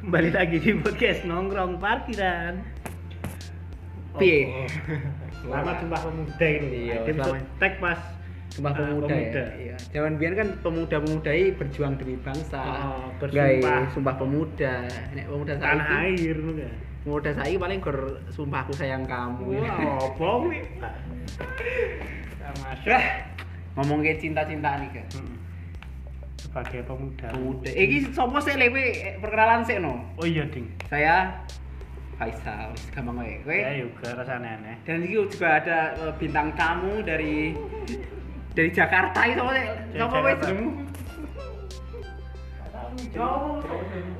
Kembali lagi di podcast nongkrong parkiran. Oh. Piye? Lama Sumpah Pemuda itu. Iya, Ada selama- episode tag pas Sumpah ah, pemuda, ya. Iya. Zaman biyen kan pemuda-pemuda ini berjuang demi bangsa. Oh, Nah, Guys, bersumpah. sumpah pemuda. Nek pemuda Tanah saiki, air ngono kan. pemuda saiki paling gor sumpahku sayang kamu. Eh, Wah, apa kuwi? Sama aja. Wah, ngomong ke cinta-cintaan iki. Mm-mm. Sebagai pemuda. Eh, Pemuda. Iki sapa sih le kowe Eh, perkenalan sik no. Oh iya, Ding. Saya Faisal, wis gampang kowe. Kowe Ya juga rasanya aneh. dan ini juga ada eh, bintang tamu dari dari Jakarta itu sapa sih? Dari Sapa kowe Jakarta. jenengmu?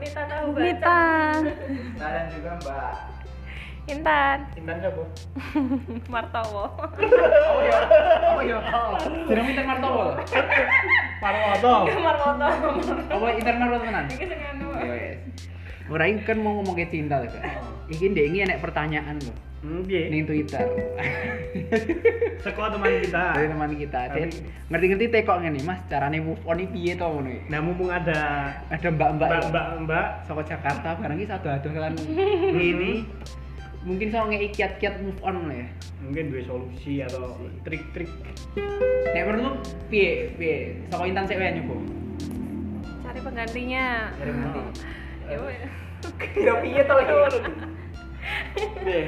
Nita tahu baca. Nita, Dan juga Mbak Intan, Intan siapa? Martowo. Oh iya. Oh iya. Jeneng Inter Martowo. Parwoto. Ya, Marwoto. Apa Inter Martowo tenan? Iki sing anu. Iya, yes. Ora iki kan mau ngomong ke cinta lho, Kak. Iki ndek iki enek pertanyaan lho. Hmm, piye? Ning Twitter. Sekolah teman kita. Dari teman kita, Cek. Tapi- Ngerti-ngerti tekok ngene, Mas, carane move on iki piye to ngono iki? Nah, mumpung ada Ada mbak-mbak Mbak-mbak Mbak saka Jakarta barang iki sadu-adu kan ini mungkin saya ngeki kiat-kiat move on lho ya. mungkin dua solusi atau trik-trik Nek menurut lu piye piye saka Intan sik wae nyoba. cari penggantinya. dari mana? Ya wes. Ya piye to iki? Deh.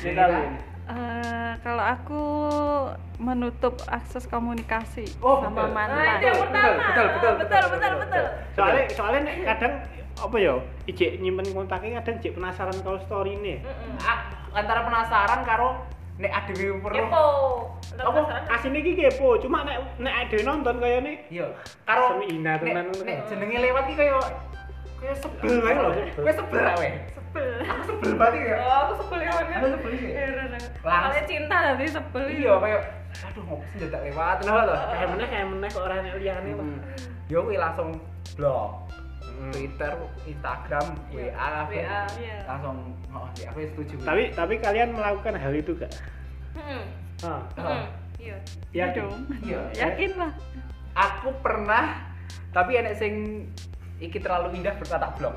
Cinta lu. Eh, kalau aku menutup akses komunikasi Oh, sama betul. Nah, mantan. itu yang pertama. Betul, betul, betul, betul, betul, betul. Soalnya soalnya nek kadang apa ya? Ijek nyimpen kontaknya kadang ijek penasaran kalau story ini. Mm-mm. A- Ah, antara penasaran karo nek ah, adewe perlu Kepo. Apa asine iki kepo, cuma nek nek ada yang nonton kaya ini iya karo Semi hina nek, tenan ngono. nek jenenge lewat iki kaya kaya sebel wae lho Sebel. kowe sebel ra weh Sebel. aku sebel banget iki ya Oh, aku sebel ya. Aku sebel iki. Kalau cinta nanti sebel. iki. iya kaya aduh ngopo sih dadak lewat ngono lho Kayak meneh kayak meneh kok ora nek liyane kok. Hmm. yo kuwi langsung blok Hmm. Twitter, Instagram, Iya. WA, lah, WA, kan. iya. langsung oh, sih, aku setuju. Tapi tapi kalian melakukan hal itu gak? Mm-mm. Ah, Mm-mm. Iya. ya Iya dong. iya. Yakin lah. Aku pernah, tapi enek sing iki terlalu indah berkata blok.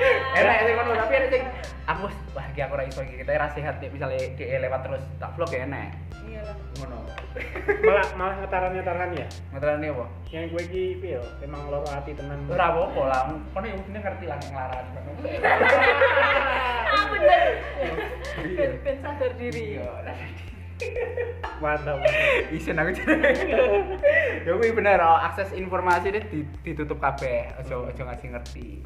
Eh, enak sih kan tapi ada sing aku wis, wah iki aku ora iso iki kita ra sehat nek misale DE lewat terus tak vlog ya enak Iya lah. ngono malah malah ngetaran-ngetaran ya. ngeterane apa Yang gue iki piye? yo? Emang loro ati tenan. ora apa-apa lah kono ya mesti ngerti lah nek nglaran Ah, bener. Ben, ben sadar diri. iya Mantap. isin aku jadi ya kuwi bener oh, akses informasi ini di- ditutup kabeh aja aja ngasih ngerti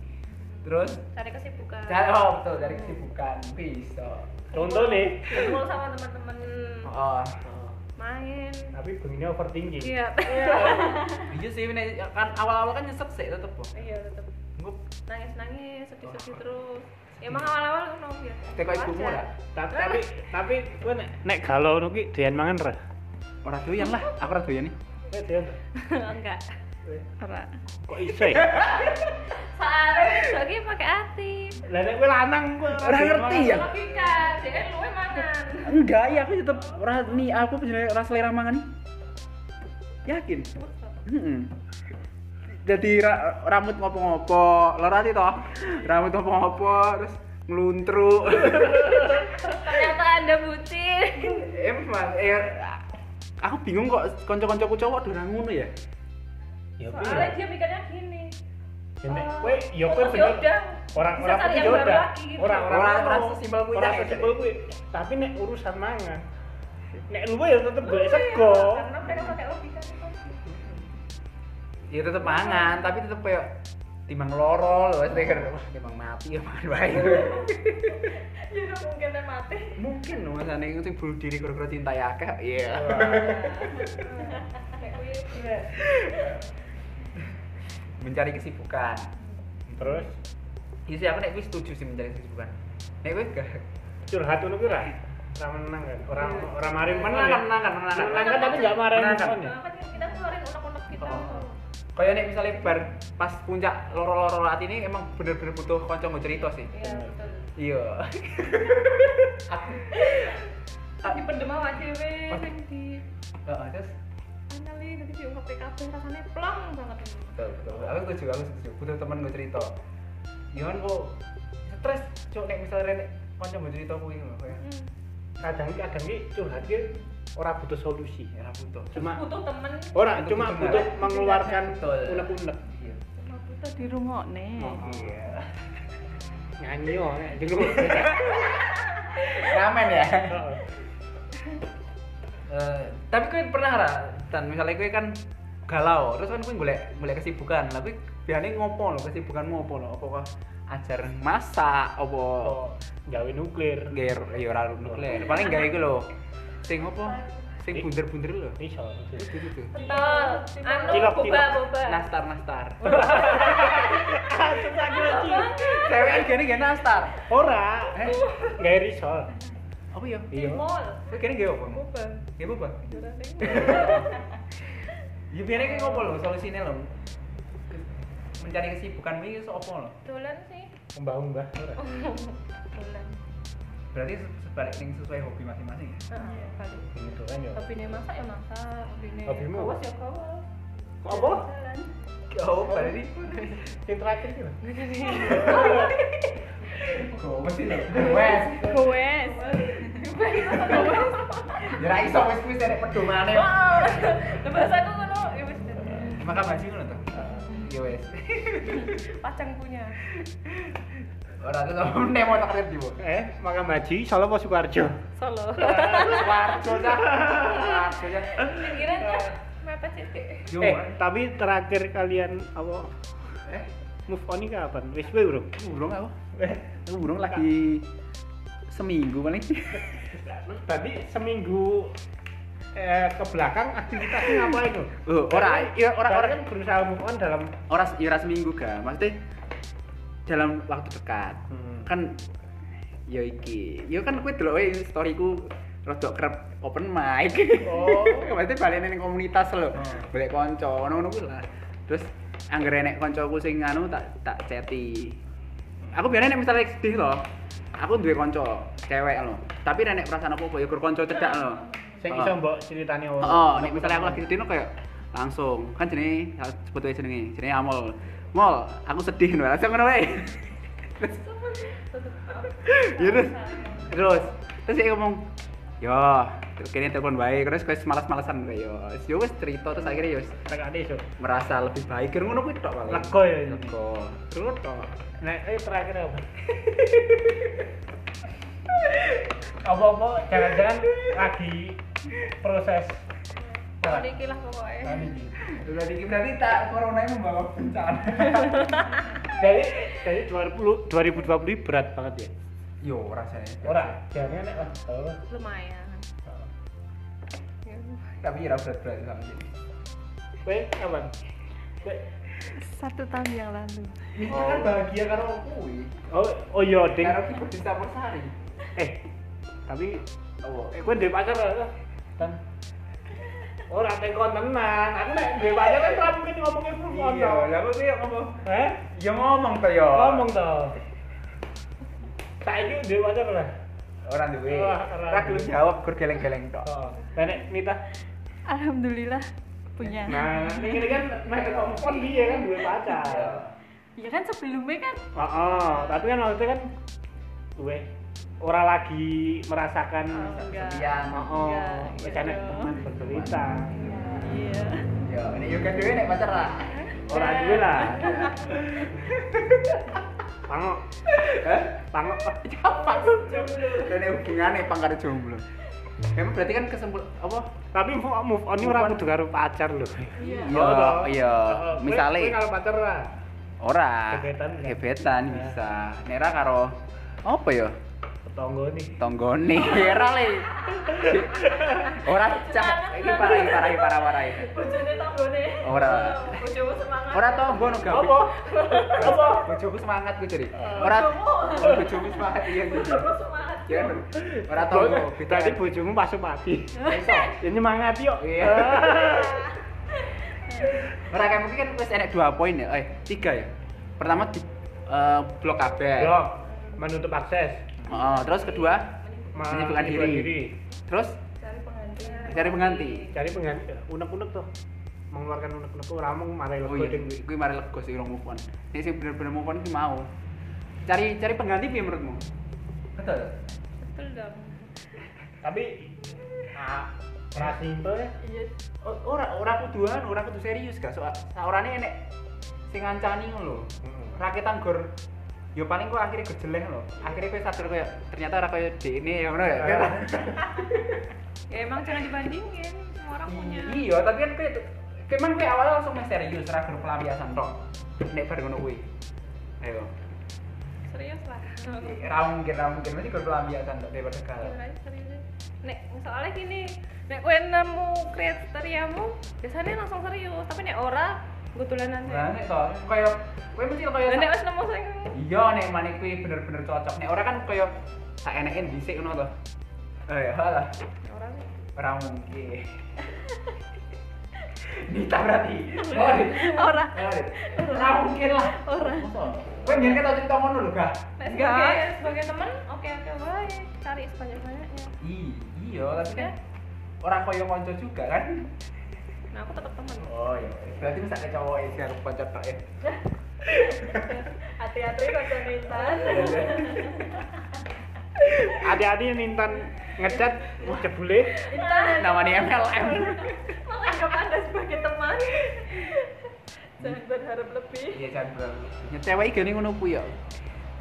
terus Cari kesibukan. cari oh betul cari kesibukan bisa Contoh nih. Kumpul sama teman-teman oh main. Tapi benginya overthinking. Iya. iya sih nek kan awal-awal kan nyesek sih tetep kok Iya, tetap. ngup nangis-nangis, sedih-sedih terus. Emang awal-awal ngono biasa. teko ibumu Wajar. ora Ta- Tapi tapi gue nek nek galau ngono ki doyan mangan ra. ora doyan lah aku ora doyan nih Eh doyan. Enggak. Ora. Kok iso ya? Soalnya lagi pakai hati. Lah nek gue lanang gue Ora ngerti ya? Logika, dia kan luwe mangan. enggak ya aku tetep ora nih aku punya ora selera mangan nih yakin Heeh. jadi ra- rambut ngopo-ngopo lor ati toh rambut ngopo-ngopo terus ngeluntru Ternyata Anda Iya. bucin. emang eh aku bingung kok kanca-kancaku cowok durang ngono ya Ya piye? Soalnya dia mikirnya gini. Ya, Nek eh, gue ya gue fokus bener. ya udah. Orang-orang Bisa cari itu yang ya baru udah. lagi gitu. Orang-orang Orang- orang sesimpel kuwi Orang tak enak. sesimpel kuwi. Tapi nek urusan mangan nek lu ya tetep gue sego. Karena mereka pakai logika. ya tetep mangan tapi tetep kayak timbang loro lho wes deker wah timbang mati ya mangan bae Ya udah mungkin dia mati. mungkin lho masane sing bunuh diri gara-gara cinta ya akeh iya Kayak gue. mencari kesibukan Terus Iya sih aku nek kuwi setuju sih mencari kesibukan. Nek kuwi gak curhat ngono ki ra. Ora menang kan. Orang Iya. orang mari menang. ya? menang menang menang. Menang kan tapi gak marah Menang, kan? menang ya. Nah, kan kita keluarin unek-unek kita. Oh. Kayak nek misalnya bar pas puncak loro-loro hati ini emang bener-bener butuh kanca nggo cerita sih. Iya, betul. Iya. Dipendem sama cewek, Pas- sing di Heeh, terus Anali nanti diungkep kabeh rasanya plong banget ini. betul betul aku setuju aku setuju butuh teman gue cerita Yon kok stres cok nek misalnya nek kanca mau cerita kuwi lho kayak Hmm. kadang kadang ki curhat ki ora butuh solusi era ya butuh cuma Butuh temen ora Butuh cuma teman. butuh mengeluarkan Betul. Kan unek-unek iya cuma butuh Kita di rumah nih. iya nyanyi yo nek di rumah. ramen ya Heeh. Eh, tapi kau pernah ra dan misalnya kau kan galau terus kan kau golek golek kesibukan lah kau biasanya ngopo lo kesibukanmu apa lo apakah ajar masak apa Oh, gawe nuklir gair ya ora nuklir paling gawe iku lho sing apa sing bunder-bunder lho iso iso. itu tuh betul. Anu Cilok, boba cilok. Nah, boba. nastar nastar Cuma nyuci. cewek kan gini gini nastar ora eh gawe risol apa ya iya. Di mall. kau gini gawe apa Boba. gawe apa Jalan ning. ya biasanya kau ngopo lho solusinya lho mencari kesibukan ini so apa lho Dolan sih. mbah-mbah ora Dolan. berarti se- sebalik yang sesuai hobi masing-masing ya Heeh, Iya, balik. gitu kan yo Hobine masak ya masak, hobine Hobimu apa? kawas ya kawas. Apa? Jalan. oh berarti sing terakhir ki lho kau mesti lho wes Gue. ya ra iso wes wes dari pedomane Wow. Lah bahasaku ngono ya wis. maka baju ngono tuh ya wes Pacang punya. Ora tuh sama nek mau takdir di bawah. eh makam haji Solo apa Sukoharjo Solo. Warjo dah. Warjo dah. Eh. Pikiran ya mepet sithik. Yo, eh tapi terakhir kalian apa eh, move on ini kapan wis wae bro burung aku. Eh, Aku burung lagi seminggu paling. tadi seminggu eh, ke belakang aktivitasnya ngapain lo? Oh, ora, iya, ora, ora. kan berusaha move on dalam Ora ya ora seminggu ga, maksudnya dalam waktu dekat. Hmm. Kan yo iki. Yo kan kowe delok wae storyku rodok kerep open mic. Oh. Maksudnya balik ning komunitas lho. Hmm. Balik kanca, ngono-ngono kuwi lah. Terus anggere nek kancaku sing anu tak tak ceti. Aku biasanya nek misalnya sedih lho, aku duwe kanca cewek lho. Tapi nek nek perasaan apa-apa ya gur kanca cedak lho. saya Oh. iso mbok ceritanya Oh, wong. nek misalnya aku lagi sedih no kayak langsung kan jenenge sebetulnya jenenge jenenge Amol. Mol, aku sedih no. Langsung ngono wae. Ya, terus terus terus dia ngomong, "Yo, terus kene telepon baik." Terus kowe malas-malasan kayak yo. Wis, Yo wis cerita terus akhirnya yo wis tekane iso merasa lebih baik. Kira ngono kuwi tok paling. Lega ya ini. Lega. terus toh nek eh, terakhir apa apa-apa jangan-jangan lagi proses Tahun iki lah pokoknya. Terus tadi berarti tak corona ini membawa bencana. dari dari 20 2020 berat banget ya Yo rasanya. ora jangan nek lah oh. Lumayan. Ya. Tapi ya berat-berat sama sih. Kowe kapan Kowe- Satu tahun yang lalu. Ini kan bahagia karo kuwi. oh oh iya ding Karo ki berdesa persari. eh tapi Oh. eh kowe ndek pacar ora kan ora tekon tenan aku nek ndek pacar kan ora mungkin ngomongnya full on Iya, toh. lha kok ki ngomong. Heh? Ya ngomong to ya. ngomong toh saiki ndek pacar ora Ora duwe. Wah, ora Ora gelem duwe. jawab gur geleng-geleng tok. oh Lah, nek Nita Alhamdulillah punya. nah ini kan nek ngomong kan dia kan duwe pacar Ya kan sebelumnya kan oh, oh tapi kan waktu itu kan duwe ora lagi merasakan Oh, enggak. Kesepian. Oh, Enggak, wis enek gitu. teman bercerita. Iya. Ya, nek yo kan dhewe nek pacar lah. Ora duwe lah. Pangok, Hah? pangok. Apa tuh? Dene hubungane pangkat jomblo. Emang berarti kan kesempul apa? Tapi move move on ini ora kudu karo pacar lho. Oh, Iya. Iya, iya. Heeh. Kowe- Misale- kowe kalau pacar ora. Ora. Gebetan kan? Gebetan bisa. Nek ra karo apa ya? Tetangga nih. Tonggone ora le. Ora cah. Iki parah, iki parah, iki parah, parah. iki. Bojone tanggone. Ora. Bojomu semangat. Ora tonggo no gawe. Apa? Apa? Bojoku semangat ku jadi. Ora Bojomu. bojoku semangat iya sih. Bojomu semangat. Ya. Ora tonggo beda kan? Tadi bojomu masuk mati. iso. Ya nyemangat yuk. Iya. Ora kayak mungkin kan wis enek 2 poin ya. Eh, 3 ya. Pertama di eh, blok kabeh. Blok menutup akses. Oh, terus kedua Ma- menyibukkan menyibukkan diri. diri. Terus Cari penggantian. cari pengganti. Cari pengganti. Unek-unek tuh. Mengeluarkan unek-unek tuh ramung marah Oh lego iya, ding. gue mari lego sih urung move on. Nek sing bener-bener move on ki mau. Cari cari pengganti piye menurutmu? Betul. betul dong Tapi ah ora simpel ya. iya O- Ora ora kuduan, ora kudu serius gak soal saurane enek sing ngancani ngono lho. Heeh. Rakitan gor yo paling kok akhirnya gejeleng lho. Akhirnya kowe sadar koyo ternyata ora koyo dene ya ngono ya. Eh. ya emang jangan dibandingin semua orang punya Iya, tapi kan kowe kowe man kowe awalnya langsung meh serius ra gor pelampiasan tok. Nek bar ngono kuwi. Ayo. serius lah Ra mungkin, ra mungkin mesti gor pelampiasan tok daripada kalah. Iya, serius. Nek soalnya gini, nek kowe nemu kriteriamu, biasanya langsung serius, tapi nek ora, gue tulanan Nah, aja. nek to, koyo kowe mesti koyo Dan nek wis nemu sing Iya, nek mane kuwi bener-bener cocok. Nek ora kan koyo tak enekin dhisik ngono to. Oh ya, halah. ora sih. Ora mungkin. Nita berarti. Oh, Dit. ora Oh, Dit. Ora mungkin lah. Ora. Masa? Kowe biyen tau cerita ngono lho, Gah. Nek Enggak. sebagai sebagai teman, oke oke wae, cari sebanyak-banyaknya. I- Iya, tapi kan orang koyo konco juga kan. Nah, aku tetap teman. Oh iya, berarti mesti ada cowok yang harus konco tok ya. Hati-hati kok jangan intan. Hati-hati Nintan ngecat cebule. Intan, Namanya MLM. menganggap Anda sebagai teman. Jangan berharap lebih. Iya, jangan berlalu. Ya, Cewek iki gini ngono kuwi ya.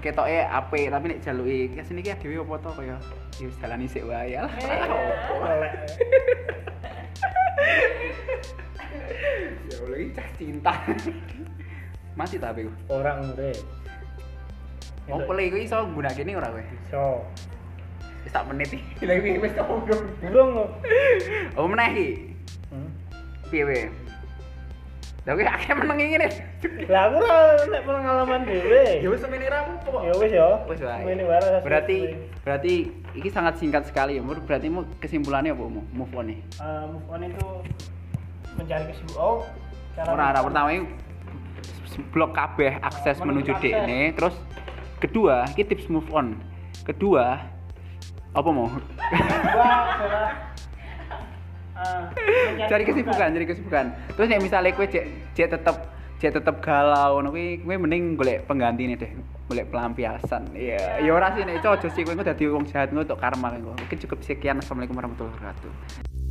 Ketoke apik, tapi nek jaluki ya kesini ki dhewe apa to kaya ya wis dalani sik wae ya. Eh, iya. Elek. Ya Allah, iki cah cinta. Masih ta aku. Orang urip. Opo le iku iso nggunakake ini ora kowe? So. Wis tak menit iki. Lah iki wis tak urung. Burung lo. Oh meneh iki. Hmm. Piye wae? Lah kowe akeh meneng iki ngene. Lah aku ora nek pengalaman Ya dhewe. wis semene ra apa kok. Ya wis ya. Wis wae. Ini waras. Berarti berarti iki sangat singkat sekali ya. Mur. Berarti mu kesimpulannya apa mu? Move on nih. Eh, move on itu mencari kesibukan. Oh, Ora ora pertama iki s- blok kabeh akses Menuju menuju akses. dekne. Terus kedua, iki tips move on. Kedua apa mau? Gua adalah eh, mencari Cari kesibukan, cari kesibukan. Terus nek misalnya kowe jek jek tetep jek tetep galau ngono kuwi kowe mending golek penggantine deh. Golek pelampiasan. Iya, ya ora sih nek cocok sih kowe engko dadi wong jahat ngono untuk karma kowe. Oke cukup sekian. Assalamualaikum warahmatullahi wabarakatuh.